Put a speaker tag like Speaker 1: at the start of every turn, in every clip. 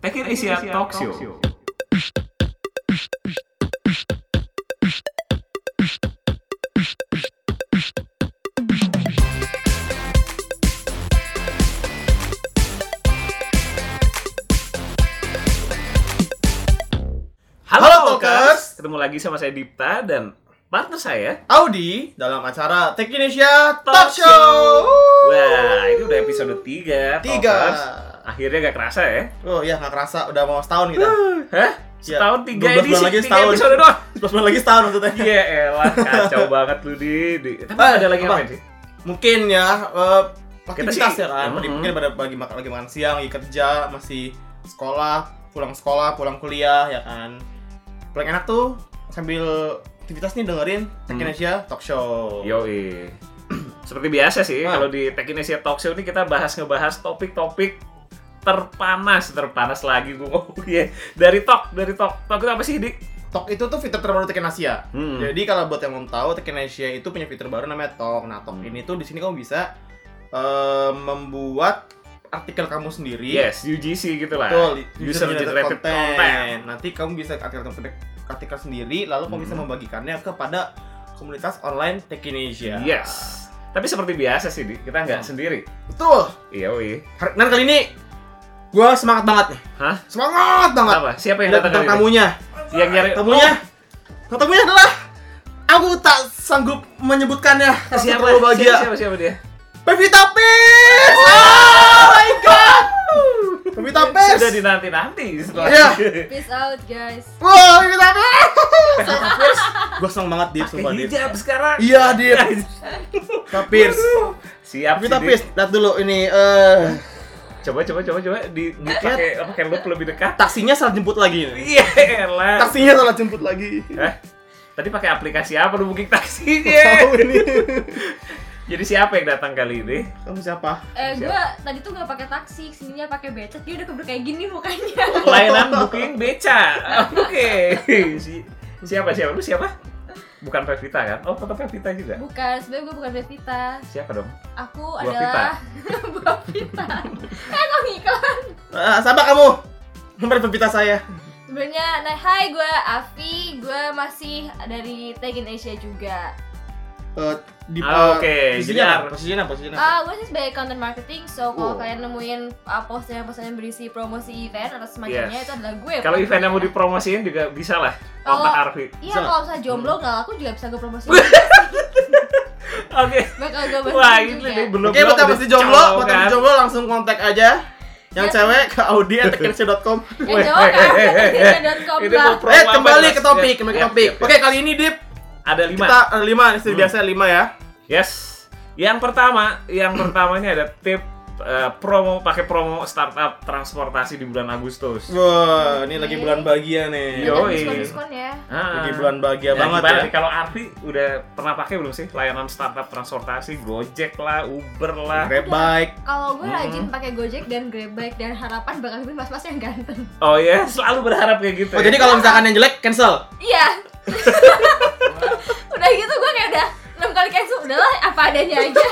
Speaker 1: Akhir Asia Talk Show.
Speaker 2: Halo,
Speaker 1: Halo
Speaker 2: Talkers.
Speaker 1: Talkers, ketemu lagi sama saya Dipta dan partner saya.
Speaker 2: Audi dalam acara Tech Indonesia Talk
Speaker 1: Talk
Speaker 2: Show.
Speaker 1: Show. Wah, itu udah episode 3.
Speaker 2: Tiga.
Speaker 1: Akhirnya gak kerasa ya.
Speaker 2: Oh iya nggak kerasa udah mau setahun kita.
Speaker 1: Hah?
Speaker 2: Ya,
Speaker 1: Setahun tiga
Speaker 2: 12
Speaker 1: edisi,
Speaker 2: bulan lagi
Speaker 1: tiga
Speaker 2: setahun.
Speaker 1: episode doang.
Speaker 2: 11 bulan lagi setahun maksudnya.
Speaker 1: Iya elah, kacau banget lu di. di. Tapi
Speaker 2: Eh,
Speaker 1: ada lagi
Speaker 2: apa?
Speaker 1: apa sih?
Speaker 2: Mungkin ya eh, aktivitas
Speaker 1: sih- Mm-hmm.
Speaker 2: ya kan.
Speaker 1: Mm-mm.
Speaker 2: Mungkin pada bagi makan lagi makan siang, lagi kerja, masih sekolah, pulang sekolah, pulang kuliah ya kan. Paling enak tuh sambil aktivitas nih dengerin Tech
Speaker 1: Hmm.
Speaker 2: Indonesia Talk Show.
Speaker 1: Yoi. Seperti biasa sih,
Speaker 2: Ah.
Speaker 1: kalau di Tech in Asia Talk Show ini kita bahas ngebahas topik-topik terpanas, terpanas lagi gue ngomong ya. Dari talk, dari talk. Talk itu apa sih, Dik?
Speaker 2: Talk itu tuh fitur terbaru Tech Asia.
Speaker 1: Hmm.
Speaker 2: Jadi kalau buat yang belum tahu, Tekinesia itu punya fitur baru namanya Talk. Nah, Talk
Speaker 1: Hmm.
Speaker 2: ini tuh di sini kamu bisa eh, membuat artikel kamu sendiri.
Speaker 1: Yes, UGC gitu lah.
Speaker 2: Betul,
Speaker 1: User generated content.
Speaker 2: Nanti kamu bisa artikel artikel sendiri lalu kamu bisa
Speaker 1: Hmm.
Speaker 2: membagikannya kepada komunitas online Tekinesia.
Speaker 1: Yes. Tapi seperti biasa sih, Dik, kita nggak
Speaker 2: Hmm.
Speaker 1: sendiri.
Speaker 2: Betul.
Speaker 1: Iya, Wi.
Speaker 2: Har- Dan kali ini gua semangat banget nih.
Speaker 1: Hah?
Speaker 2: Semangat banget.
Speaker 1: Apa? Siapa yang
Speaker 2: Dan
Speaker 1: datang
Speaker 2: tentang
Speaker 1: hari ini? Eh, oh.
Speaker 2: tamunya.
Speaker 1: Yang nyari
Speaker 2: Tamunya. Tamunya adalah aku tak sanggup menyebutkannya.
Speaker 1: Oh,
Speaker 2: Aku
Speaker 1: siapa?
Speaker 2: terlalu
Speaker 1: Siapa,
Speaker 2: bahagia.
Speaker 1: siapa, siapa, dia?
Speaker 2: Pevita Pierce! Oh my god! Pevita Pierce!
Speaker 1: Sudah dinanti-nanti setelah.
Speaker 2: Iya.
Speaker 3: Peace out guys.
Speaker 2: Wow, Pevita Pierce! Gue seneng banget Dip,
Speaker 1: Pakai
Speaker 2: sumpah Dip.
Speaker 1: hijab sekarang.
Speaker 2: Iya Dip. Pevita Pierce.
Speaker 1: Siap
Speaker 2: Pevita
Speaker 1: sih, Dik.
Speaker 2: Pierce, lihat dulu ini. eh
Speaker 1: Coba coba coba coba di di- pakai pakai loop lebih dekat.
Speaker 2: taksinya salah jemput lagi. ini.
Speaker 1: Iya elah.
Speaker 2: Taksinya salah jemput lagi.
Speaker 1: Eh, tadi pakai aplikasi apa lu booking taksinya?
Speaker 2: Tahu ini.
Speaker 1: Jadi siapa yang datang kali ini?
Speaker 2: Kamu siapa?
Speaker 3: Eh gua tadi tuh nggak pakai taksi, kesininya pakai becak. Dia udah keburu kayak gini mukanya.
Speaker 1: Layanan booking beca. Oke. Si- siapa siapa lu siapa? Bukan Pevita kan? Oh, tetap Pevita juga.
Speaker 3: Bukan, sebenarnya gua bukan Bevita.
Speaker 1: Siapa dong?
Speaker 3: Aku
Speaker 1: Gua
Speaker 3: adalah Gua Vita. eh kok ngiklan?
Speaker 2: Eh, sabar kamu. Nomor Pevita saya.
Speaker 3: Sebenarnya, nah hai gua Afi, gua masih dari Tech in Asia juga.
Speaker 2: Eh, di
Speaker 1: Ah,
Speaker 2: eh,
Speaker 1: oke. Jadi
Speaker 2: Posisinya apa?
Speaker 1: harus-
Speaker 2: Posisinya apa? Posisinya apa?
Speaker 3: Ah, gua sih sebagai content marketing, so
Speaker 2: Oh.
Speaker 3: kalau kalian nemuin uh, postingan-postingan berisi promosi event atau semacamnya
Speaker 1: Yes.
Speaker 3: itu adalah gue.
Speaker 1: Kalau eventnya mau dipromosiin juga bisa lah. Kontak
Speaker 3: Kalau-
Speaker 1: Arfi.
Speaker 3: Iya,
Speaker 2: Bisa.
Speaker 3: kalau misalnya jomblo nggak laku juga bisa gue promosiin.
Speaker 1: Oke.
Speaker 3: Bakal gue bahas
Speaker 1: Wah,
Speaker 3: juga.
Speaker 1: ini nih belum. kan?
Speaker 2: Oke, buat yang masih jomblo, buat yang masih
Speaker 1: jomblo.
Speaker 2: jomblo langsung kontak aja. Yang
Speaker 3: Ya.
Speaker 2: cewek ke audi@tekensia.com.
Speaker 3: Yang jawab
Speaker 1: Weh,
Speaker 3: kan?
Speaker 1: weh, weh, weh.
Speaker 3: Indonesia.com
Speaker 1: Ini
Speaker 3: lah.
Speaker 1: mau promo
Speaker 2: Eh,
Speaker 1: apa,
Speaker 2: kembali
Speaker 1: Mas?
Speaker 2: ke topik,
Speaker 1: Iya,
Speaker 2: kembali ke
Speaker 1: iya,
Speaker 2: topik.
Speaker 1: iya, iya.
Speaker 2: Oke, kali ini Dip,
Speaker 1: ada lima.
Speaker 2: kita ada lima, ini
Speaker 1: Hmm.
Speaker 2: biasa lima ya.
Speaker 1: Yes. Yang pertama, yang pertama ini ada tip eh, promo pakai promo startup transportasi di bulan Agustus.
Speaker 2: Wah, ini lagi bulan bahagia nih.
Speaker 1: Yo.
Speaker 3: Banyak
Speaker 1: Yoi.
Speaker 3: diskon-diskon ya.
Speaker 1: Ah.
Speaker 2: Lagi bulan bahagia
Speaker 1: Nah,
Speaker 2: banget
Speaker 1: gimana
Speaker 2: ya.
Speaker 1: nih, Kalau Arfi udah pernah pakai belum sih layanan startup transportasi Gojek lah, Uber lah.
Speaker 2: Grab bike.
Speaker 3: Kalau gue
Speaker 1: Hmm.
Speaker 3: rajin pakai Gojek dan Grab Bike dan harapan bakal nemuin mas-mas yang ganteng.
Speaker 1: Oh ya, selalu berharap kayak gitu.
Speaker 2: Oh,
Speaker 1: ya.
Speaker 2: jadi kalau misalkan yang jelek cancel.
Speaker 3: Iya. udah gitu gue kayak udah enam kali cancel udahlah apa adanya aja.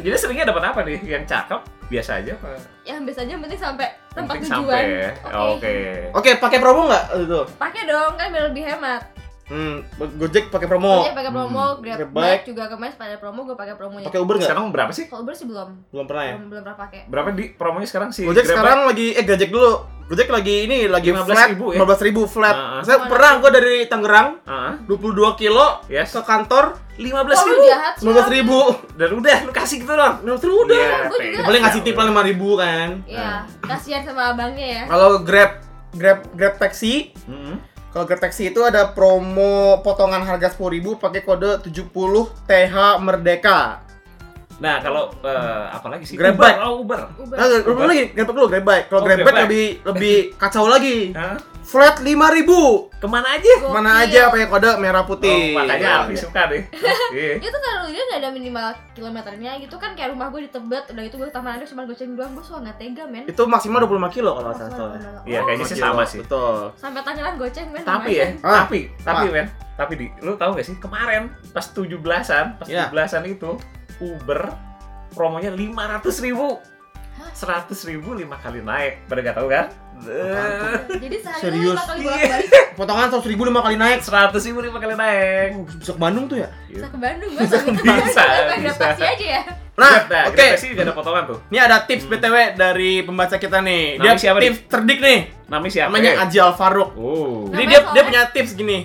Speaker 1: Jadi seringnya dapat apa nih? Yang cakep biasa aja apa?
Speaker 3: yang biasanya yang penting sampai tempat
Speaker 1: Penting
Speaker 3: tujuan.
Speaker 1: sampai. ya. Oke.
Speaker 2: Oke, pakai promo nggak itu?
Speaker 3: Pakai dong kan biar lebih hemat.
Speaker 2: Hmm, Gojek pakai promo.
Speaker 3: Gojek pakai promo, Grab
Speaker 2: Grab
Speaker 3: Bike
Speaker 2: Bike.
Speaker 3: juga kemarin pada promo gue pakai promonya.
Speaker 2: Pakai Uber nggak?
Speaker 1: Sekarang berapa sih?
Speaker 3: Kalau Uber sih belum,
Speaker 2: Belum pernah ya.
Speaker 3: belum belum pernah pakai.
Speaker 1: Berapa di promonya sekarang sih?
Speaker 2: Gojek sekarang
Speaker 1: ya?
Speaker 2: lagi eh Gojek dulu. Gojek lagi ini lagi
Speaker 1: 15.000
Speaker 2: flat,
Speaker 1: ya?
Speaker 2: 15.000 flat.
Speaker 1: Ah, ah.
Speaker 2: Saya pernah gua dari Tangerang 22 kilo
Speaker 1: Yes.
Speaker 2: ke kantor
Speaker 1: lima
Speaker 3: Oh,
Speaker 1: belas
Speaker 3: lu
Speaker 1: ribu
Speaker 3: jahat sih.
Speaker 2: 15 ribu
Speaker 1: dan udah lu kasih gitu dong.
Speaker 2: Menurut lu udah
Speaker 1: Iya,
Speaker 3: gua
Speaker 1: thank
Speaker 3: juga.
Speaker 1: you.
Speaker 2: Paling ngasih tip lah 5 ribu kan
Speaker 3: Iya, kasihan sama abangnya ya.
Speaker 2: Kalau Grab Grab Grab Taxi
Speaker 1: Mm-mm.
Speaker 2: kalau Grab Taxi itu ada promo potongan harga 10 ribu pakai kode 70 TH Merdeka
Speaker 1: Nah kalau eh, apa lagi sih?
Speaker 2: Grab
Speaker 1: Uber,
Speaker 2: Bike.
Speaker 1: oh, Uber.
Speaker 3: Uber.
Speaker 2: Nah, lu lu lagi Grab dulu Grab Bike Kalau
Speaker 1: Oh,
Speaker 2: Grab
Speaker 1: Grab
Speaker 2: Bike
Speaker 1: Bike.
Speaker 2: lebih, lebih kacau lagi
Speaker 1: Hah?
Speaker 2: Flat 5 ribu
Speaker 1: Kemana aja?
Speaker 3: Gokil.
Speaker 2: Mana aja pakai kode merah putih
Speaker 1: Oh, makanya
Speaker 2: Iya.
Speaker 1: Alfi suka deh. Iya.
Speaker 3: Dia tuh kalau dia nggak ada minimal kilometernya gitu kan kayak rumah gue di Tebet udah gitu gue ke Taman Anda cuma goceng doang gue suka nggak tega men.
Speaker 2: Itu maksimal 25 kilo kalau nggak Iya, salah
Speaker 3: Langsung
Speaker 2: salah.
Speaker 3: ada-
Speaker 1: Iya,
Speaker 3: Oh,
Speaker 1: kayaknya sih
Speaker 2: 25 kilo,
Speaker 1: sama sih.
Speaker 2: Betul
Speaker 3: Sampai Tangerang goceng men.
Speaker 1: Tapi ya,
Speaker 3: lumayan.
Speaker 2: Ah,
Speaker 1: tapi, tapi men, tapi di, lu tahu gak sih kemarin pas 17-an, pas
Speaker 2: Iya.
Speaker 1: 17-an itu Uber promonya 500 ribu.
Speaker 3: Mas.
Speaker 1: seratus ribu lima kali naik pada nggak tahu kan
Speaker 3: Jadi sehari itu
Speaker 2: Serius?
Speaker 3: lima kali
Speaker 1: Iya.
Speaker 3: bolak-balik
Speaker 2: Potongan 100 ribu lima kali naik.
Speaker 1: seratus ribu lima kali naik
Speaker 2: Oh, bisa ke Bandung tuh ya?
Speaker 3: bisa ke Bandung, Mas. Bisa,
Speaker 1: Bisa, bisa.
Speaker 3: Gravitasi aja ya.
Speaker 2: Nah,
Speaker 1: nah,
Speaker 2: oke.
Speaker 1: kita pasti nggak ada potongan tuh
Speaker 2: Ini ada tips BTW dari pembaca kita nih. Dia
Speaker 1: Namanya siapa nih?
Speaker 2: tips terdik nih.
Speaker 1: namanya siapa
Speaker 2: Namanya Ajal Faruk.
Speaker 1: oh
Speaker 2: Jadi
Speaker 3: Namanya
Speaker 2: dia dia
Speaker 3: soalnya-
Speaker 2: punya tips gini.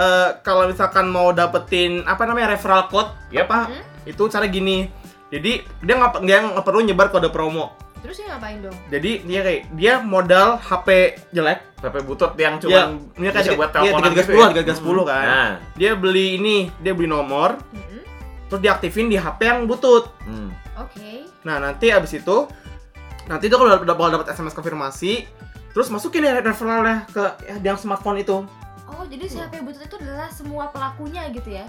Speaker 2: Eh kalau misalkan mau dapetin apa namanya referral code
Speaker 1: Yap.
Speaker 2: apa
Speaker 3: Hmm.
Speaker 2: itu cara gini. Jadi dia nggak dia nggak perlu nyebar kode promo.
Speaker 3: Terus dia ngapain dong?
Speaker 2: Jadi dia kayak dia modal HP jelek.
Speaker 1: HP butut yang
Speaker 2: Iya,
Speaker 1: cuma
Speaker 2: dia
Speaker 1: bisa
Speaker 2: kayak
Speaker 1: buat
Speaker 2: tiga- iya,
Speaker 1: teleponan gitu
Speaker 2: 330, 330 kan.
Speaker 1: Nah,
Speaker 2: Dia beli ini, dia beli nomor,
Speaker 3: Mm-mm.
Speaker 2: terus diaktifin di HP yang butut.
Speaker 1: hmm.
Speaker 3: Oke.
Speaker 2: Nah nanti abis itu nanti dia kalau udah bakal dapat SMS konfirmasi, terus masukin ya referralnya ke ya, yang smartphone itu.
Speaker 3: Oh, jadi si HP butut itu adalah semua pelakunya gitu ya?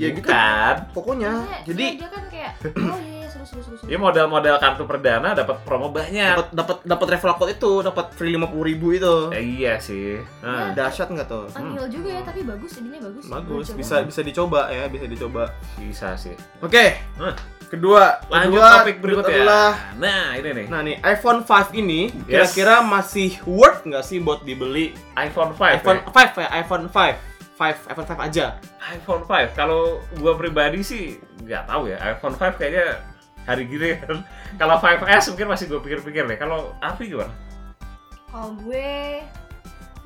Speaker 2: Ya gitu.
Speaker 1: Bukan.
Speaker 2: Pokoknya
Speaker 3: Maksudnya,
Speaker 2: jadi
Speaker 3: iya, dia kan kayak oh iya iya seru seru seru. seru.
Speaker 1: Dia modal-modal kartu perdana dapat promo banyak.
Speaker 2: dapat dapat dapat referral code itu dapat free lima puluh ribu itu
Speaker 1: Eh, iya sih. Nah,
Speaker 2: dahsyat nggak tuh
Speaker 3: Tangil juga ya, tapi bagus idenya bagus.
Speaker 2: bagus
Speaker 3: Coba.
Speaker 2: bisa bisa dicoba ya bisa dicoba
Speaker 1: bisa sih.
Speaker 2: oke
Speaker 1: Hmm.
Speaker 2: kedua
Speaker 1: Lanjut
Speaker 2: kedua
Speaker 1: topik berikutnya.
Speaker 2: adalah
Speaker 1: Nah, ini nih.
Speaker 2: nah nih iPhone 5 ini
Speaker 1: Yes.
Speaker 2: kira-kira masih worth nggak sih buat dibeli
Speaker 1: iPhone 5.
Speaker 2: iPhone
Speaker 1: iPhone,
Speaker 2: 5 ya iPhone 5 5 iPhone 5 aja
Speaker 1: iPhone 5. Kalau gua pribadi sih nggak tahu ya. iPhone 5 kayaknya hari gini kan. Kalau 5S mungkin masih gua pikir-pikir deh. Kalau Avi gimana?
Speaker 3: Kalau gue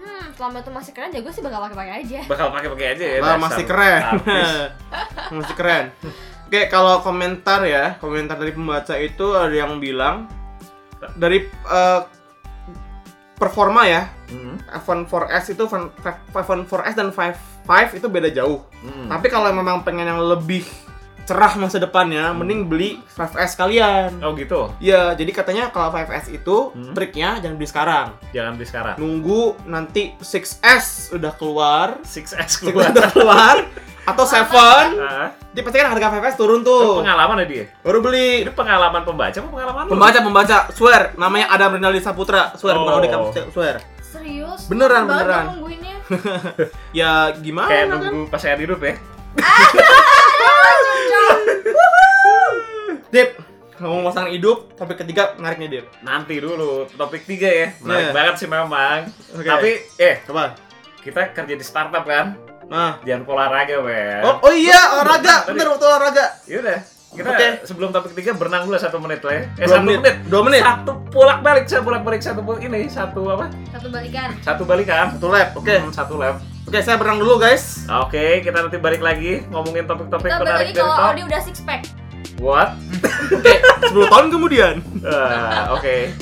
Speaker 3: Hmm, selama itu masih keren ya gue sih bakal pakai-pakai aja.
Speaker 1: Bakal pakai-pakai aja ya.
Speaker 2: lah
Speaker 1: dasar
Speaker 2: masih keren
Speaker 1: artis.
Speaker 2: masih keren oke kalau komentar ya komentar dari pembaca itu ada yang bilang dari eh, performa ya
Speaker 1: Hmm,
Speaker 2: iPhone 4S itu fan- fa- iPhone 4S dan 5, 5 itu beda jauh.
Speaker 1: hmm.
Speaker 2: Tapi kalau memang pengen yang lebih cerah masa
Speaker 1: Hmm.
Speaker 2: depannya, mending beli 5S kalian.
Speaker 1: Oh gitu.
Speaker 2: Ya, jadi katanya kalau 5S itu
Speaker 1: Hmm.
Speaker 2: triknya jangan beli sekarang.
Speaker 1: Jangan beli sekarang.
Speaker 2: Nunggu nanti 6S udah keluar,
Speaker 1: 6S
Speaker 2: 6
Speaker 1: keluar.
Speaker 2: udah keluar atau 7,
Speaker 1: Ah,
Speaker 2: jadi pasti kan harga 5S turun
Speaker 1: itu
Speaker 2: tuh.
Speaker 1: pengalaman ya dia.
Speaker 2: Baru beli.
Speaker 1: Ini pengalaman pembaca apa pengalaman lu?
Speaker 2: Pembaca pembaca, swear namanya Adam Rinaldi Saputra, swear
Speaker 1: Oh.
Speaker 2: bukan Odeka, swear.
Speaker 3: Serius?
Speaker 2: Beneran,
Speaker 3: Banget
Speaker 2: beneran.
Speaker 3: gue nungguinnya.
Speaker 2: Ya gimana
Speaker 1: Kayak
Speaker 2: kan?
Speaker 1: nunggu pas saya hidup ya.
Speaker 2: Dip, ngomong pasangan hidup, topik ketiga menariknya Dip.
Speaker 1: Nanti dulu topik 3 ya. Menarik
Speaker 2: Iya.
Speaker 1: banget sih memang.
Speaker 2: Oke.
Speaker 1: Tapi eh
Speaker 2: Coba.
Speaker 1: kita kerja di startup kan.
Speaker 2: Nah.
Speaker 1: Jangan pola olahraga, men.
Speaker 2: Oh, oh iya, olahraga. Bentar waktu olahraga.
Speaker 1: Yaudah. Kita
Speaker 2: Oke.
Speaker 1: sebelum topik 3 berenang dulu satu menit lah ya. Eh
Speaker 2: Dua
Speaker 1: satu
Speaker 2: menit.
Speaker 1: menit.
Speaker 2: Dua menit.
Speaker 1: Satu bolak balik, saya bolak balik satu bolak ini satu apa?
Speaker 3: Satu balikan.
Speaker 1: Satu balikan.
Speaker 2: Satu lab. Oke.
Speaker 1: Hmm, satu lab.
Speaker 2: Oke, saya berang dulu, guys.
Speaker 1: Oke, kita nanti balik lagi ngomongin topik-topik
Speaker 3: Kita balik lagi
Speaker 1: menarik dari
Speaker 3: kalau
Speaker 1: top.
Speaker 3: Audi udah six pack.
Speaker 1: What?
Speaker 2: 10 tahun kemudian.
Speaker 1: Ah, Oke.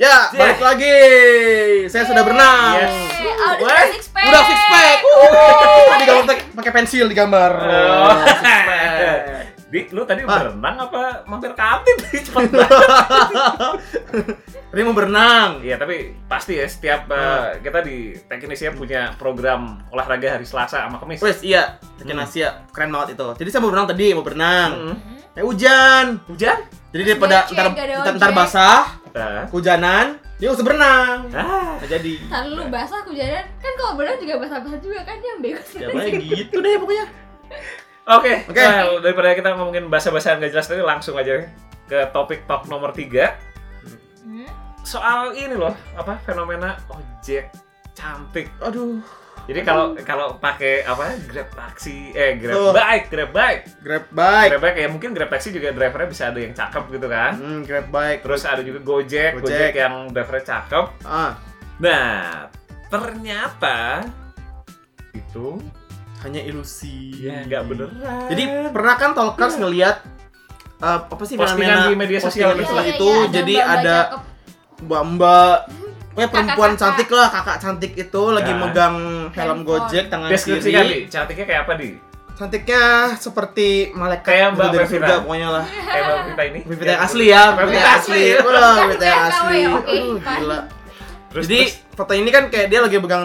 Speaker 2: Ya,
Speaker 1: Yeah.
Speaker 2: balik lagi. Saya sudah berenang.
Speaker 1: Yes.
Speaker 3: Eh, Audi
Speaker 1: What?
Speaker 3: udah six pack.
Speaker 2: Udah six pack. Wuh. Tadi gambar pakai- pakai pensil digambar.
Speaker 1: Oh.
Speaker 2: Six pack.
Speaker 1: Dik, lu tadi
Speaker 2: Ah.
Speaker 1: berenang apa mampir kantin? Cepet banget.
Speaker 2: Tadi mau berenang.
Speaker 1: Iya, tapi pasti ya setiap
Speaker 2: Ah.
Speaker 1: eh, kita di teknisnya punya program olahraga hari Selasa sama Kamis.
Speaker 2: Wes, iya. Tekin
Speaker 1: Hmm.
Speaker 2: Asia, keren banget itu. Jadi saya mau berenang tadi, mau berenang.
Speaker 1: Mm.
Speaker 2: Eh hujan.
Speaker 1: Hujan?
Speaker 2: Jadi daripada
Speaker 3: Ojek,
Speaker 2: ntar,
Speaker 3: gak ada
Speaker 2: ntar, ntar
Speaker 3: ojek.
Speaker 2: basah,
Speaker 1: Ah.
Speaker 2: hujanan, dia usah berenang.
Speaker 1: Ah.
Speaker 2: Nah, jadi.
Speaker 3: Ntar lu basah aku jalan. Kan kalau berenang juga basah-basah juga kan yang
Speaker 2: Ya
Speaker 3: bego sih.
Speaker 2: pokoknya gitu deh pokoknya.
Speaker 1: Oke,
Speaker 2: Oke.
Speaker 1: Well, daripada kita ngomongin bahasa-bahasa nggak jelas tadi, langsung aja ke topik talk nomor 3
Speaker 3: Hmm?
Speaker 1: soal ini loh, apa fenomena ojek cantik.
Speaker 2: Aduh,
Speaker 1: Jadi kalau kalau pakai apa Grab taksi, eh
Speaker 2: Tuh.
Speaker 1: Grab bike, Grab bike,
Speaker 2: Grab bike.
Speaker 1: Grab bike ya mungkin Grab taksi juga drivernya bisa ada yang cakep gitu kan.
Speaker 2: Hmm, Grab bike.
Speaker 1: Terus ada juga Gojek,
Speaker 2: Gojek.
Speaker 1: Gojek, yang drivernya cakep.
Speaker 2: Ah,
Speaker 1: Nah, ternyata itu
Speaker 2: hanya ilusi.
Speaker 1: ya nggak beneran.
Speaker 2: Iya, Jadi pernah kan talkers
Speaker 3: Hmm.
Speaker 2: ngelihat eh, apa sih
Speaker 1: Postingan
Speaker 2: fenomena
Speaker 1: di media sosial
Speaker 3: Iya,
Speaker 2: postingan
Speaker 1: gitu
Speaker 2: setelah
Speaker 1: lah.
Speaker 2: itu jadi ada mbak-mbak Pokoknya perempuan
Speaker 3: Kakak-kakak.
Speaker 2: cantik lah, kakak cantik itu lagi
Speaker 1: Ya.
Speaker 2: megang helm
Speaker 3: Handphone.
Speaker 2: Gojek tangan
Speaker 1: deskripsikan
Speaker 2: kiri.
Speaker 1: di cantiknya kayak apa di?
Speaker 2: Cantiknya seperti malaikat
Speaker 1: Kayak Mbak
Speaker 2: dari
Speaker 1: Pevita.
Speaker 2: surga pokoknya lah.
Speaker 3: Iya.
Speaker 1: kayak Mbak Pevita ini
Speaker 2: Pevita yang asli ya, Pevita yang asli.
Speaker 1: asli.
Speaker 2: Udah, Pevita yang asli.
Speaker 3: Oke,
Speaker 2: Aduh,
Speaker 3: fine.
Speaker 2: gila.
Speaker 1: terus,
Speaker 2: Jadi
Speaker 1: terus-
Speaker 2: foto ini kan kayak dia lagi pegang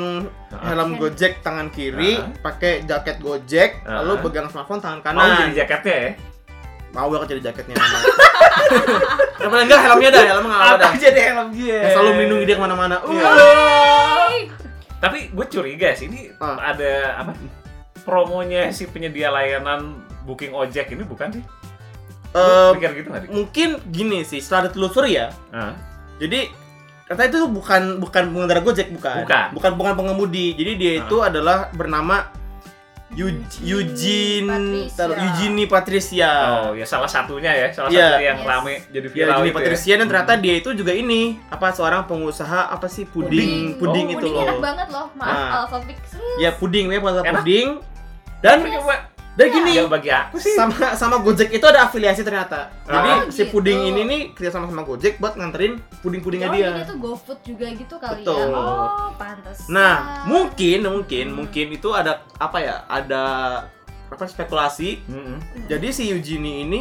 Speaker 2: helm
Speaker 3: Hand.
Speaker 2: Gojek tangan kiri,
Speaker 1: Ah.
Speaker 2: pakai jaket Gojek,
Speaker 1: Ah.
Speaker 2: lalu pegang smartphone tangan
Speaker 1: mau jadi
Speaker 2: kanan.
Speaker 1: jaketnya ya
Speaker 2: Mau banget jadi jaketnya. Yang paling enggak helmnya dah, helmnya enggak ada.
Speaker 1: Apa jadi helm dia
Speaker 2: Yang selalu melindungi dia kemana-mana. Uh.
Speaker 1: Iya. tapi gue curiga sih ini
Speaker 2: Ah.
Speaker 1: ada apa promonya si penyedia layanan booking ojek ini bukan sih
Speaker 2: Eh,
Speaker 1: Lu pikir gitu nggak sih
Speaker 2: mungkin gini sih, setelah ditelusuri ya.
Speaker 1: Ah.
Speaker 2: Jadi ternyata itu bukan bukan pengendara Gojek bukan.
Speaker 1: Bukan.
Speaker 2: Bukan bukan pengemudi. Jadi dia
Speaker 1: Ah.
Speaker 2: itu adalah bernama Eug- Eugene
Speaker 3: Eugene Patricia.
Speaker 2: Tar- Eugenie Patricia.
Speaker 1: oh ya salah satunya ya salah
Speaker 2: Iya.
Speaker 1: satu yang
Speaker 3: Yes.
Speaker 1: rame jadi
Speaker 2: Ya,
Speaker 1: viral itu
Speaker 2: Eugenie
Speaker 1: ya.
Speaker 2: Patricia dan ternyata dia itu juga ini apa seorang pengusaha apa sih
Speaker 1: Puding.
Speaker 2: puding puding,
Speaker 1: Oh,
Speaker 2: itu
Speaker 3: Puding
Speaker 2: loh.
Speaker 3: enak banget loh. Maaf,
Speaker 2: Nah.
Speaker 3: Alpha Pix.
Speaker 2: Ya puding ya pengusaha
Speaker 1: Enak.
Speaker 2: puding. Dan
Speaker 1: Tapi coba
Speaker 3: Iya.
Speaker 2: dan gini
Speaker 1: yang bagi aku sih
Speaker 2: sama sama Gojek itu ada afiliasi ternyata. Jadi
Speaker 1: Ah.
Speaker 2: si
Speaker 3: Gitu.
Speaker 2: puding ini nih kerja sama sama Gojek buat nganterin puding-pudingnya
Speaker 3: Oh,
Speaker 2: dia.
Speaker 3: ini tuh GoFood juga gitu kali
Speaker 2: Betul.
Speaker 3: ya. Oh, pantes.
Speaker 2: Nah, mungkin mungkin mungkin itu ada apa ya? Ada apa spekulasi.
Speaker 1: Mm-mm.
Speaker 3: Hmm.
Speaker 2: Jadi si Eugenie ini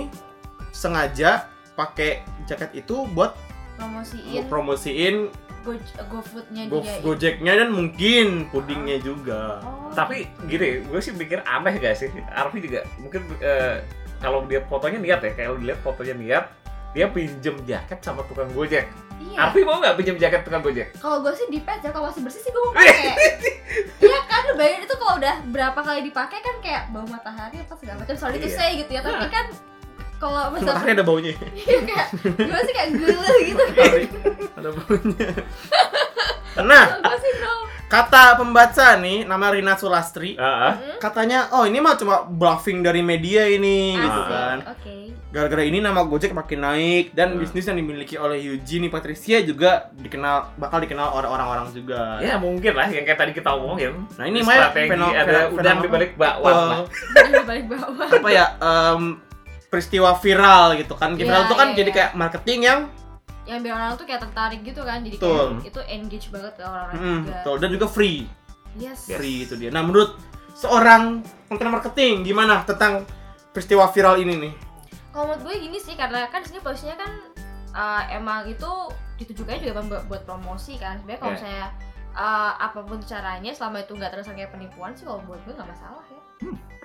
Speaker 2: sengaja pakai jaket itu buat
Speaker 3: promosiin
Speaker 2: promosiin
Speaker 3: Go GoFoodnya
Speaker 2: go
Speaker 3: dia.
Speaker 2: Gojeknya dan mungkin pudingnya juga.
Speaker 3: Oh.
Speaker 1: tapi gini gue sih mikir aneh gak sih Arfi juga mungkin eh, kalau dia fotonya niat ya kayak lu lihat fotonya niat dia pinjem jaket sama tukang gojek
Speaker 3: Iya.
Speaker 1: Arfi mau nggak pinjem jaket tukang gojek
Speaker 3: Kalau gue sih dipet ya, kalau masih bersih sih gue mau pakai. Iya kan, lu bayangin itu kalau udah berapa kali dipakai kan kayak bau matahari apa segala macam. Sorry itu
Speaker 1: Iya.
Speaker 3: saya gitu ya,
Speaker 1: Nah.
Speaker 3: tapi kan kalau misalnya
Speaker 2: Matahari ada baunya.
Speaker 3: Iya, kayak gue sih kayak gila gitu.
Speaker 2: ada baunya. nah,
Speaker 3: Gue sih no.
Speaker 2: kata pembaca nih nama Rina Sulastri
Speaker 1: Ah, ah.
Speaker 3: Hmm?
Speaker 2: katanya oh ini mah cuma bluffing dari media ini gitu
Speaker 3: Asik,
Speaker 2: kan.
Speaker 3: Oke.
Speaker 2: Gara-gara ini nama Gojek makin naik dan
Speaker 3: Iya.
Speaker 1: Hmm.
Speaker 2: bisnis yang dimiliki oleh Eugenie Patricia juga dikenal bakal dikenal oleh orang-orang juga.
Speaker 1: ya
Speaker 3: Iya.
Speaker 1: mungkin lah yang kayak tadi kita omongin
Speaker 2: Nah, ini Maya,
Speaker 1: strategi
Speaker 2: feno-
Speaker 1: ada
Speaker 2: feno-
Speaker 1: udang
Speaker 2: fenomen-
Speaker 1: di balik bakwan lah
Speaker 2: Atau
Speaker 3: Dari balik bawah.
Speaker 2: Eh, apa ya em, peristiwa viral gitu kan.
Speaker 3: Iya,
Speaker 2: Viral itu kan
Speaker 3: iya,
Speaker 2: jadi
Speaker 3: iya.
Speaker 2: kayak marketing yang
Speaker 3: Yang biar orang tuh kayak tertarik gitu kan, jadi
Speaker 2: Betul.
Speaker 3: kayak itu engage banget ke orang-orang
Speaker 2: mm,
Speaker 3: juga.
Speaker 2: betul dan juga free.
Speaker 3: Yes.
Speaker 1: Yes.
Speaker 2: Free itu dia. Nah, menurut seorang konten marketing gimana tentang peristiwa viral ini nih?
Speaker 3: Kalau menurut gue gini sih, karena kan di sini posisinya kan uh, emang itu ditujukannya juga emang buat- buat promosi kan. Sebenarnya kalau
Speaker 1: Yeah.
Speaker 3: misalnya uh, apapun caranya, selama itu nggak terasa kayak penipuan sih, kalau buat gue nggak masalah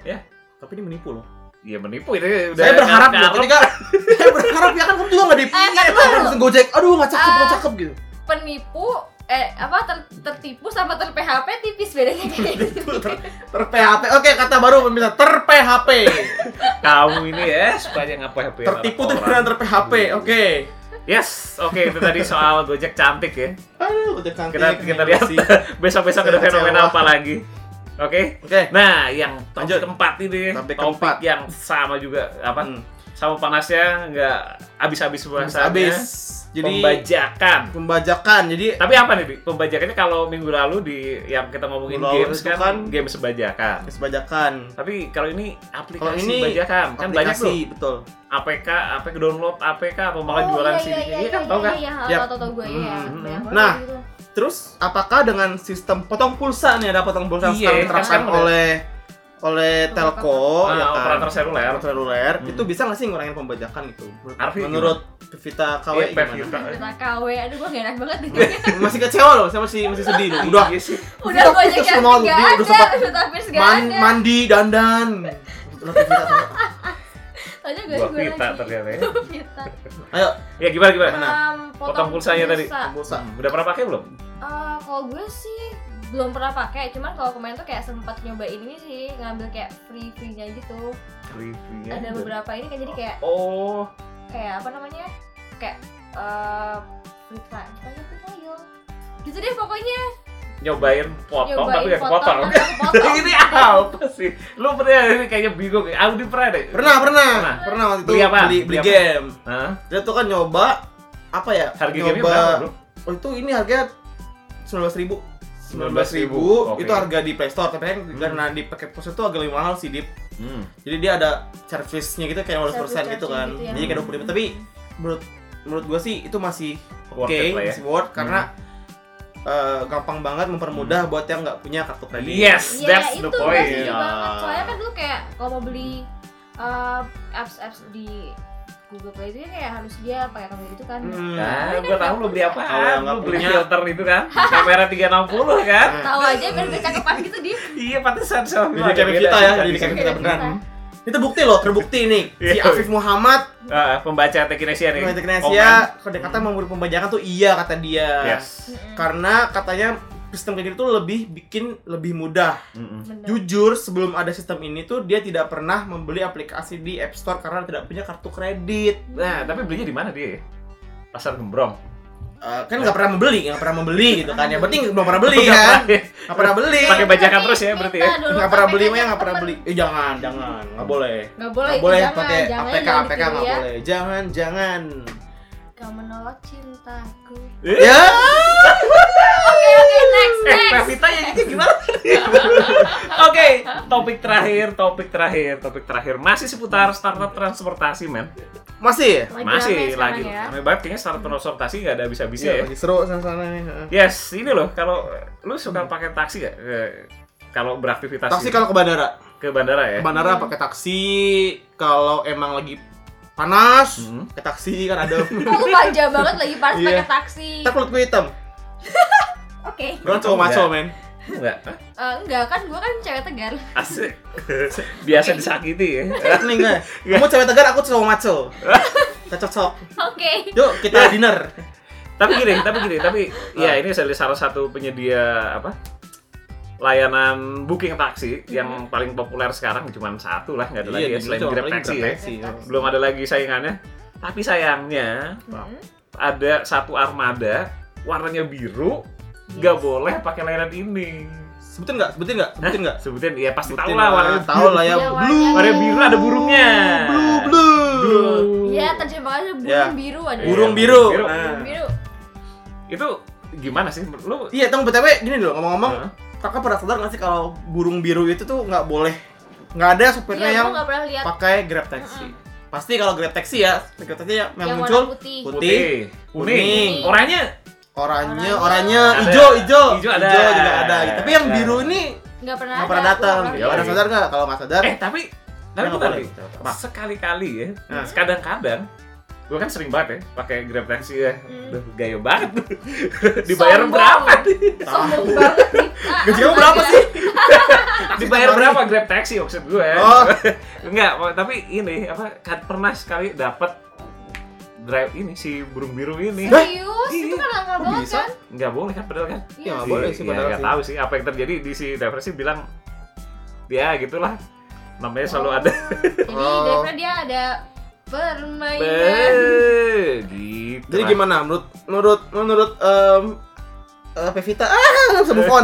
Speaker 3: ya.
Speaker 2: Tapi ini menipu loh.
Speaker 1: ya menipu itu udah
Speaker 2: saya berharap
Speaker 1: ngarep-ngarep.
Speaker 2: loh ketika saya berharap ya kan kamu juga nggak
Speaker 3: Eh, kan
Speaker 2: dipilih.
Speaker 3: baru.
Speaker 2: Langsung Gojek. Aduh, nggak cakep, nggak
Speaker 1: Eh.
Speaker 3: Ah.
Speaker 2: cakep gitu.
Speaker 3: Penipu eh apa ter- tertipu sama ter PHP tipis bedanya kayak gitu.
Speaker 2: Ter- ter PHP. Oke, kata baru pemirsa ter PHP.
Speaker 1: kamu ini ya supaya ya, ngapa HP
Speaker 2: Tertipu tuh beneran ter PHP. Oke.
Speaker 1: yes oke itu tadi soal gojek cantik ya
Speaker 2: Aduh, udah cantik.
Speaker 1: Kita- kita lihat.
Speaker 2: sih.
Speaker 1: besok besok ada
Speaker 2: Saya
Speaker 1: fenomena
Speaker 2: kecewa.
Speaker 1: apa lagi oke
Speaker 2: Oke.
Speaker 1: Nah, yang topik
Speaker 2: Lanjut.
Speaker 1: keempat ini,
Speaker 2: Topik
Speaker 1: topik,
Speaker 2: keempat.
Speaker 1: yang sama juga apa?
Speaker 2: Hmm.
Speaker 1: Sama panasnya nggak habis-habis
Speaker 2: Habis.
Speaker 1: bahasannya.
Speaker 2: habis. Jadi
Speaker 1: pembajakan.
Speaker 2: pembajakan. Jadi
Speaker 1: Tapi apa nih, Bi? Pembajakannya kalau minggu lalu di yang kita ngomongin
Speaker 2: Minggu lalu
Speaker 1: games
Speaker 2: itu
Speaker 1: kan,
Speaker 2: kan-
Speaker 1: games bajakan.
Speaker 2: pembajakan.
Speaker 1: Tapi kalau ini aplikasi
Speaker 2: Kalau ini
Speaker 1: bajakan kan banyak tuh
Speaker 2: Aplikasi, betul.
Speaker 1: APK, APK download APK apa malah jualan
Speaker 3: iya,
Speaker 1: sini.
Speaker 3: iya, iya,
Speaker 1: Iya kan
Speaker 3: iya,
Speaker 1: tau kan?
Speaker 3: Iya,
Speaker 2: Ya.
Speaker 3: tau tau gue ya.
Speaker 1: Hmm.
Speaker 2: Nah. Terus apakah dengan sistem potong pulsa nih ada potong pulsa
Speaker 1: Iya,
Speaker 2: yang sekarang
Speaker 1: kan
Speaker 2: diterapkan
Speaker 1: sekarang udah-
Speaker 2: oleh oleh
Speaker 3: iya,
Speaker 2: Telko
Speaker 1: Nah,
Speaker 2: ya kan?
Speaker 1: operator seluler.
Speaker 2: operator seluler
Speaker 1: Hmm.
Speaker 2: itu bisa nggak sih ngurangin pembajakan itu? Menurut-
Speaker 1: Arfi
Speaker 2: menurut Pevita KW
Speaker 1: Iya,
Speaker 2: gimana? Eh,
Speaker 1: Pevita.
Speaker 3: Kita KW, aduh gue gak enak banget nih.
Speaker 2: masih kecewa loh, saya masih masih sedih loh. Udah
Speaker 1: Iya sih.
Speaker 3: Udah
Speaker 2: Pevita
Speaker 3: gue
Speaker 2: putus
Speaker 3: aja
Speaker 2: semua,
Speaker 3: gak
Speaker 2: dia
Speaker 3: ada,
Speaker 2: udah sempat
Speaker 3: Pevita Pierce gak
Speaker 2: man-
Speaker 3: ada.
Speaker 2: mandi dandan. Udah, Pevita, sama-
Speaker 3: Tanya gue
Speaker 1: Gua
Speaker 3: gue
Speaker 1: pita
Speaker 3: lagi.
Speaker 1: ternyata ya.
Speaker 3: Pita.
Speaker 2: Ayo
Speaker 1: Ya gimana gimana?
Speaker 2: Mana?
Speaker 3: Um,
Speaker 1: Potong pulsanya tadi.
Speaker 3: pulsa.
Speaker 2: pulsa.
Speaker 1: Hmm, Udah pernah pakai belum?
Speaker 3: Eh, kalau gue sih belum pernah pakai, cuman kalau kemarin tuh kayak sempat nyobain ini sih ngambil kayak free free nya gitu.
Speaker 1: Reviewnya
Speaker 3: Ada
Speaker 1: udah-
Speaker 3: beberapa ini kan jadi kayak
Speaker 1: Oh,
Speaker 3: kayak apa namanya kayak eh free trial, trial, free trial. gitu deh pokoknya
Speaker 1: nyobain potong tapi ya kepotong.
Speaker 3: tapi nggak kepotong.
Speaker 1: ini apa sih? Lu pernah ini kayaknya bingung. ya? Audi pernah deh.
Speaker 2: pernah pernah
Speaker 1: Pernah.
Speaker 2: pernah waktu itu
Speaker 1: Beli apa?
Speaker 2: beli, beli
Speaker 1: Beli apa?
Speaker 2: game.
Speaker 1: Hah?
Speaker 2: Dia tuh kan nyoba apa ya?
Speaker 1: Harga gamenya
Speaker 2: nyoba
Speaker 1: berapa, Bro?
Speaker 2: Oh itu ini harganya 19.000 ribu. 19.000
Speaker 1: Oke.
Speaker 2: itu harga di Play Store tapi kan karena di pakai pos itu agak lebih mahal sih Dip.
Speaker 1: Hmm.
Speaker 2: Jadi dia ada service-nya gitu kayak 100% gitu
Speaker 3: Service
Speaker 2: kan.
Speaker 3: charging gitu ya.
Speaker 2: Jadi kayak 20 tapi menurut menurut gua sih itu masih oke,
Speaker 1: Worth it lah ya. Hmm.
Speaker 2: masih worth karena eh, gampang banget mempermudah buat yang nggak punya kartu kredit.
Speaker 1: Yes,
Speaker 3: Iya
Speaker 1: that's
Speaker 3: itu
Speaker 1: the
Speaker 3: gua
Speaker 1: point. Hmm.
Speaker 3: setuju
Speaker 2: Iya.
Speaker 3: banget. Soalnya kan dulu kayak kalau mau beli eh, apps-apps di Google Play itu ya kayak harus dia pakai kamera gitu kan.
Speaker 2: Hmm.
Speaker 1: Nah, gua tahu lu beli
Speaker 2: Kalau yang
Speaker 1: apaan.
Speaker 2: nggak
Speaker 1: Lu beli
Speaker 2: punya.
Speaker 1: filter itu kan. Kamera 360 kan.
Speaker 2: Nah,
Speaker 3: Tahu aja biar kecakepan gitu di.
Speaker 1: Iya, pantesan sama
Speaker 2: Jadi kayak kita ya, jadi kayak kita
Speaker 3: Kayak
Speaker 2: beneran.
Speaker 3: kita.
Speaker 2: Itu bukti loh, terbukti nih. Si
Speaker 1: Iya.
Speaker 2: Afif Muhammad,
Speaker 1: pembaca Tekinesia nih.
Speaker 2: Indonesia, kode kata memberi pembajakan tuh iya kata dia.
Speaker 1: Komen. Yes.
Speaker 3: Mm-mm.
Speaker 2: Karena katanya sistem kayak gitu lebih bikin lebih mudah.
Speaker 1: Mm-mm.
Speaker 3: Bener.
Speaker 2: Jujur, sebelum ada sistem ini tuh dia tidak pernah membeli aplikasi di App Store karena tidak punya kartu kredit.
Speaker 1: Nah, tapi belinya di mana dia? ya? Pasar Gembrong.
Speaker 2: Eh, kan nggak pernah membeli, nggak pernah membeli gitu kan. Yang penting belum pernah beli
Speaker 1: Nggak
Speaker 2: kan.
Speaker 1: pernah.
Speaker 2: Nggak pernah beli.
Speaker 1: Pakai bajakan terus ya, berarti ya?
Speaker 3: Minta dulu
Speaker 2: Nggak pernah
Speaker 3: KPK
Speaker 2: beli,
Speaker 3: ke
Speaker 2: ya nggak pernah
Speaker 3: temen.
Speaker 2: beli. Eh jangan, jangan, nggak boleh.
Speaker 3: Nggak boleh.
Speaker 2: Nggak
Speaker 3: itu
Speaker 2: boleh
Speaker 3: jangan,
Speaker 2: pakai
Speaker 3: jangan,
Speaker 2: APK,
Speaker 3: jangan
Speaker 2: APK
Speaker 3: ditiru
Speaker 2: nggak
Speaker 3: ya.
Speaker 2: boleh. Jangan, jangan.
Speaker 3: Kau menolak cintaku.
Speaker 2: Ya.
Speaker 3: Oke oke next
Speaker 1: Eh,
Speaker 3: next.
Speaker 1: Pevita nyanyinya gimana? Oke, topik terakhir, topik terakhir, topik terakhir masih seputar startup transportasi, men.
Speaker 2: Masih.
Speaker 3: Lagi
Speaker 1: Masih
Speaker 3: rame
Speaker 1: lagi.
Speaker 3: sekarang ya.
Speaker 1: Rame banget kayaknya startup transportasi nggak ada habis-habisnya ya.
Speaker 2: Iya, lagi seru sana-sana nih. heeh.
Speaker 1: Yes, ini loh. Kalau lu suka pakai taksi nggak? Eh, Hmm. Kalau beraktivitas
Speaker 2: Taksi kalau ke bandara.
Speaker 1: ke bandara ya?
Speaker 2: Ke bandara pakai taksi. Kalau emang lagi panas,
Speaker 1: Hmm.
Speaker 2: ke taksi kan ada.
Speaker 3: ya. Kok lu manja banget lagi pas
Speaker 2: Iya.
Speaker 3: pakai taksi.
Speaker 2: Ntar kulit gue hitam.
Speaker 3: Oke.
Speaker 2: Gue cowok maco,
Speaker 1: ya?
Speaker 2: men.
Speaker 1: Enggak.
Speaker 3: Eh, Enggak kan gua kan cewek tegar.
Speaker 1: Asik. Biasa disakiti ya.
Speaker 2: Lihat nih gue. Kamu cewek tegar, aku cowok maco. Cocok sok.
Speaker 3: Oke.
Speaker 1: Iya.
Speaker 2: Yuk kita dinner.
Speaker 1: tapi gini, tapi gini, tapi
Speaker 2: Ah.
Speaker 1: ya ini dari salah satu penyedia apa? layanan booking taksi yang paling populer sekarang cuma satu lah nggak ada lagi ya,
Speaker 2: dulu
Speaker 1: selain Grab
Speaker 2: cowok Hmm. Iya, paling
Speaker 1: Taxi ya.
Speaker 2: Taxi,
Speaker 3: Grab Taxi.
Speaker 1: belum ada lagi saingannya tapi sayangnya
Speaker 3: Hmm.
Speaker 1: ada satu armada warnanya biru nggak boleh pakai layanan ini
Speaker 2: Sebutin nggak? Sebutin nggak? Sebutin nggak?
Speaker 1: sebutin ya pasti
Speaker 2: Sebutin
Speaker 1: tahu lah warnanya
Speaker 2: Tahu lah ya.
Speaker 3: Iya,
Speaker 2: Blue.
Speaker 3: warnanya
Speaker 1: warnanya biru ada burungnya
Speaker 2: Blue, blue.
Speaker 3: Iya, terjemahannya
Speaker 2: Ya.
Speaker 3: burung biru ada.
Speaker 2: Burung
Speaker 1: Iya,
Speaker 2: biru.
Speaker 1: biru.
Speaker 2: Nah.
Speaker 3: Burung biru.
Speaker 1: itu gimana sih lu
Speaker 2: Iya, tong btw gini dulu ngomong-ngomong,
Speaker 1: Hah?
Speaker 2: kakak pernah sadar nggak sih kalau burung biru itu tuh nggak boleh, nggak ada supirnya
Speaker 3: Iya,
Speaker 2: yang
Speaker 3: gua nggak pernah lihat
Speaker 2: pakai grab taxi. Pasti kalau grab taxi ya, grab taxi ya yang,
Speaker 3: yang
Speaker 2: muncul
Speaker 3: warna putih.
Speaker 2: putih, kuning.
Speaker 1: kuning orangnya
Speaker 2: oranye,
Speaker 3: Oranye.
Speaker 2: oranye, hijau, hijau,
Speaker 1: Hijau ada.
Speaker 2: juga ada. Tapi yang
Speaker 1: Ada.
Speaker 2: biru ini
Speaker 3: Nggak pernah
Speaker 2: nggak pernah datang. Ya
Speaker 3: gua nggak
Speaker 1: Iya,
Speaker 2: Pada
Speaker 1: iya.
Speaker 2: sadar nggak? Kalau nggak sadar,
Speaker 1: Eh tapi tapi
Speaker 2: nggak
Speaker 1: bentar
Speaker 2: boleh.
Speaker 1: nih. Sekali-kali ya,
Speaker 2: Nah.
Speaker 1: kadang-kadang gue kan sering banget ya pakai Grab taxi ya.
Speaker 3: Hmm.
Speaker 1: Duh, gaya banget. Dibayar
Speaker 3: Sombong.
Speaker 1: berapa?
Speaker 3: Sombong banget. Dita.
Speaker 2: gaji kamu berapa sih?
Speaker 1: Dibayar
Speaker 2: Taksi.
Speaker 1: berapa Grab taxi maksud ya? gue?
Speaker 2: Oh.
Speaker 1: Enggak, mak- tapi ini apa kan pernah sekali dapat drive ini si burung biru ini.
Speaker 3: Serius?
Speaker 1: Iya.
Speaker 3: Itu kan lama
Speaker 2: Kok
Speaker 3: banget
Speaker 2: bisa?
Speaker 3: kan?
Speaker 1: Enggak boleh kan padahal kan?
Speaker 2: Iya, nggak
Speaker 1: Si-
Speaker 2: boleh sih
Speaker 1: ya,
Speaker 2: padahal
Speaker 1: nggak
Speaker 2: sih.
Speaker 1: tahu sih apa yang terjadi di si driver sih bilang ya gitulah namanya selalu ada
Speaker 3: Jadi
Speaker 2: Oh.
Speaker 3: daripada dia ada permainan.
Speaker 1: Be- gitu
Speaker 2: Jadi
Speaker 1: lah.
Speaker 2: gimana? Menurut menurut menurut em eh, Pevita, ah, sebut font.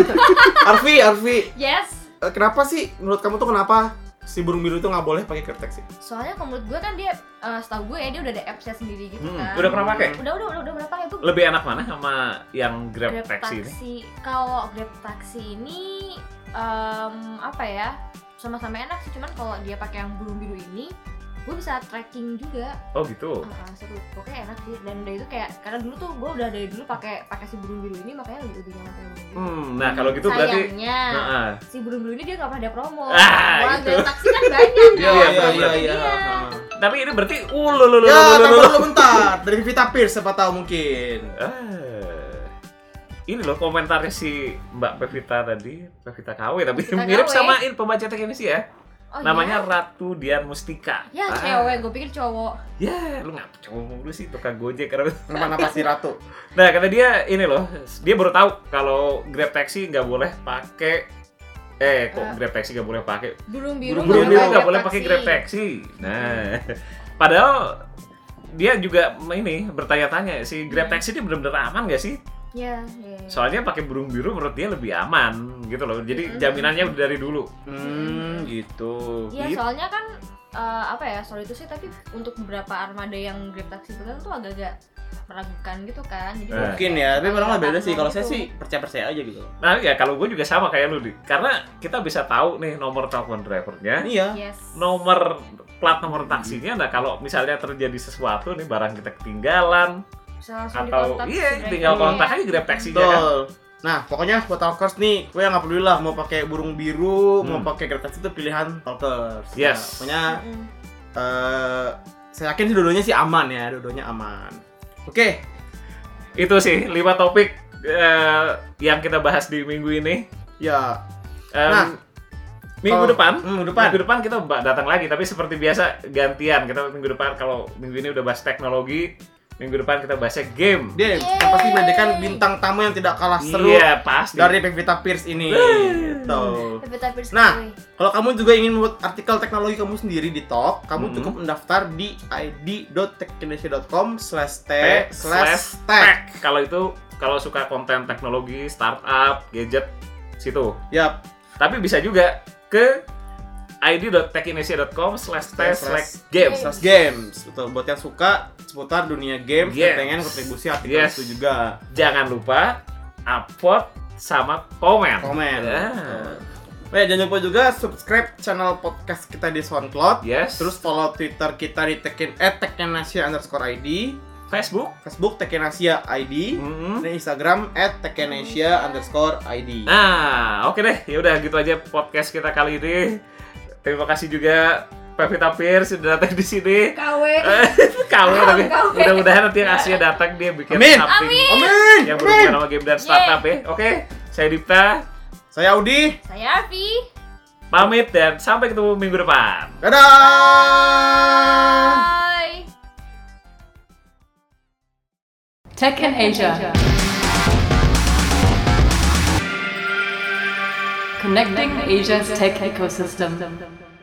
Speaker 2: Arfi, Arfi,
Speaker 3: Yes.
Speaker 2: Eh, kenapa sih menurut kamu tuh kenapa si burung biru itu nggak boleh pakai kertek sih?
Speaker 3: Soalnya kalau menurut gue kan dia, eh, setahu gue ya dia udah ada appsnya sendiri gitu
Speaker 1: Hmm,
Speaker 3: kan.
Speaker 1: udah pernah pakai
Speaker 3: Udah udah udah udah berapa ya gue
Speaker 1: lebih enak mana sama yang grab,
Speaker 3: Grab
Speaker 1: taxi ini?
Speaker 3: taksi. Kalau Grab taksi ini em, apa ya? Sama-sama enak sih, cuman kalau dia pakai yang biru-biru ini, gue bisa tracking juga.
Speaker 1: Oh gitu.
Speaker 3: Ah, ah, seru. Pokoknya enak sih. Dan udah itu kayak karena dulu tuh gue udah dari dulu pakai pakai si biru-biru ini makanya lebih, lebih nyaman pakai yang biru.
Speaker 1: Hmm, nah kalau gitu berarti
Speaker 3: Sayangnya
Speaker 1: nah, ah.
Speaker 3: si biru-biru ini dia gak pernah ada promo.
Speaker 1: Ah,
Speaker 3: Orang
Speaker 1: itu.
Speaker 3: Grab taksi kan banyak.
Speaker 1: Iya,
Speaker 3: kan?
Speaker 1: iya,
Speaker 3: Itu
Speaker 1: iya,
Speaker 3: dia.
Speaker 1: tapi ini berarti uh lu lu lu lu, lu,
Speaker 2: Ya, tapi
Speaker 1: lu, lu.
Speaker 2: dulu bentar. Dari Pevita Pierce siapa tahu mungkin.
Speaker 1: Ah. Ini loh komentarnya si Mbak Pevita tadi, Pevita KW tapi
Speaker 3: Pevita
Speaker 1: mirip
Speaker 3: KW.
Speaker 1: sama ini pembaca teknis ya.
Speaker 3: Oh,
Speaker 1: Namanya Ratu Dian Mustika.
Speaker 3: Ya,
Speaker 1: Ah.
Speaker 3: ya cewek, gue pikir cowok.
Speaker 1: Ya, lu ngapa cowok mulu sih tukang Gojek karena
Speaker 2: Kenapa-napa si Ratu?
Speaker 1: Nah, kata dia ini loh, dia baru tahu kalau Grab Taxi nggak boleh pakai eh kok
Speaker 3: Ah.
Speaker 1: Grab Taxi nggak boleh pakai
Speaker 3: Burung biru
Speaker 1: burung biru biru
Speaker 2: nggak boleh
Speaker 1: nggak boleh pakai grab taxi nah padahal dia juga ini bertanya-tanya si grab taxi ini benar-benar aman gak sih
Speaker 3: Ya, ya.
Speaker 1: soalnya pakai burung biru menurut dia lebih aman gitu loh
Speaker 3: Hmm.
Speaker 1: jadi jaminannya udah dari dulu
Speaker 2: Hmm, gitu.
Speaker 3: Iya,
Speaker 1: Gitu.
Speaker 3: soalnya kan eh, apa ya soal itu sih tapi untuk beberapa armada yang grab taksi pegang tuh agak-agak meragukan gitu kan jadi
Speaker 1: Eh.
Speaker 2: Mungkin ya, tapi orang nggak beda sih. Kalau saya
Speaker 3: Gitu.
Speaker 2: sih percaya-percaya aja gitu.
Speaker 1: nah ya kalau gue juga sama kayak lu di karena kita bisa tahu nih nomor telepon drivernya
Speaker 2: Iya.
Speaker 3: yes
Speaker 1: nomor plat nomor taksinya nah kalau misalnya terjadi sesuatu nih barang kita ketinggalan
Speaker 3: bisa langsung
Speaker 1: atau
Speaker 3: dikontak
Speaker 1: iya
Speaker 3: sebenarnya.
Speaker 1: tinggal kontak
Speaker 3: Iya.
Speaker 1: aja grab taxinya kan
Speaker 2: Betul. Nah, pokoknya buat talkers nih, gue nggak peduli lah mau pakai burung biru, mau
Speaker 1: Hmm.
Speaker 2: pakai kertas itu pilihan talkers.
Speaker 1: Yes.
Speaker 2: Nah, pokoknya
Speaker 3: Mm-mm.
Speaker 2: eh saya yakin sih dua-duanya sih aman ya, dua-duanya aman. Oke,
Speaker 1: Itu sih lima topik eh, yang kita bahas di minggu ini.
Speaker 2: ya
Speaker 1: Em,
Speaker 2: Nah,
Speaker 1: minggu
Speaker 2: kalau-
Speaker 1: depan,
Speaker 2: Hmm, minggu depan.
Speaker 1: minggu depan kita ba- datang lagi. Tapi seperti biasa gantian. Kita minggu depan kalau minggu ini udah bahas teknologi, minggu depan kita bahasnya game.
Speaker 2: Dia yang pasti menghadirkan bintang tamu yang tidak kalah seru
Speaker 1: Iya pasti.
Speaker 2: dari Pevita Pierce ini. Gitu.
Speaker 3: Tapi tapi
Speaker 2: Nah,
Speaker 3: sekali.
Speaker 2: Kalau kamu juga ingin membuat artikel teknologi kamu sendiri di Talk, kamu
Speaker 1: Hmm.
Speaker 2: cukup mendaftar di id.techindonesia.com slash t
Speaker 1: T
Speaker 2: slash tech.
Speaker 1: tech. Kalau itu kalau suka konten teknologi, startup, gadget situ.
Speaker 2: Yap,
Speaker 1: Tapi bisa juga ke id.techindonesia.com slash
Speaker 2: Slash-
Speaker 1: slash games.
Speaker 2: slash games. Betul, buat yang suka seputar dunia games,
Speaker 1: Yes.
Speaker 2: dan pengen kontribusi artikel
Speaker 1: Yes.
Speaker 2: itu juga.
Speaker 1: Jangan lupa upload sama komen.
Speaker 2: Komen.
Speaker 1: Ya.
Speaker 2: Betul. Eh, jangan lupa juga subscribe channel podcast kita di SoundCloud.
Speaker 1: Yes.
Speaker 2: Terus follow Twitter kita di tekin, eh, tekenasia underscore ID.
Speaker 1: Facebook.
Speaker 2: Facebook Tekenasia ID.
Speaker 1: Mm-mm.
Speaker 2: Dan Instagram at Tekenasia underscore ID.
Speaker 1: Nah, oke deh. Ya udah gitu aja podcast kita kali ini. Terima kasih juga Pevita Pierce sudah datang di sini.
Speaker 3: KW.
Speaker 1: Eh, Kawe tapi
Speaker 3: Kawe.
Speaker 1: mudah-mudahan nanti yang Asia datang dia bikin
Speaker 2: Amin.
Speaker 1: something
Speaker 2: Amin.
Speaker 1: yang
Speaker 2: Amin.
Speaker 1: berhubungan sama game dan startup ya. Oke, saya Dipta
Speaker 2: Saya Audi.
Speaker 3: Saya Arfi.
Speaker 1: pamit dan sampai ketemu minggu depan.
Speaker 2: Dadah. Nah.
Speaker 3: Bye.
Speaker 4: Tech in Asia. Connecting Asia's tech ecosystem.